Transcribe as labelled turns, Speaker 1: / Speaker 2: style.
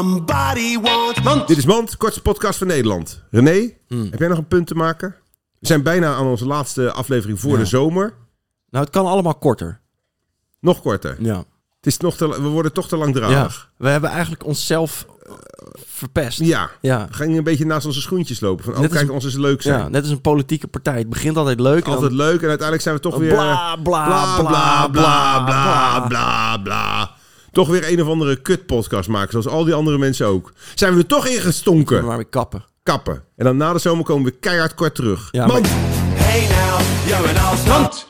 Speaker 1: Somebody wants
Speaker 2: Mand.
Speaker 3: Dit is Mand, kortste podcast van Nederland. René,
Speaker 2: Hmm.
Speaker 3: heb jij nog een punt te maken? We zijn bijna aan onze laatste aflevering voor de zomer.
Speaker 2: Nou, het kan allemaal korter.
Speaker 3: Nog korter.
Speaker 2: Ja.
Speaker 3: Het is nog te, we worden toch te
Speaker 2: ja.
Speaker 3: langdradig.
Speaker 2: We hebben eigenlijk onszelf eh, verpest.
Speaker 3: Ja. ja.
Speaker 2: Ja.
Speaker 3: We gingen een beetje naast onze schoentjes lopen. Van, oh,
Speaker 2: Net als-
Speaker 3: kijk, ons is leuk zijn.
Speaker 2: Ja, net als een politieke partij. Het begint altijd leuk. en
Speaker 3: Altijd
Speaker 2: dan-
Speaker 3: leuk en uiteindelijk zijn we toch weer...
Speaker 2: Bla, bla,
Speaker 3: bla, bla, bla, bla, bla, bla. Toch weer een of andere kutpodcast maken, zoals al die andere mensen ook. Zijn we er toch ingestonken?
Speaker 2: Maar weer kappen.
Speaker 3: Kappen. En dan na de zomer komen we keihard kort terug.
Speaker 2: Ja,
Speaker 3: Mand.
Speaker 2: maar-
Speaker 1: Hey now, you're an all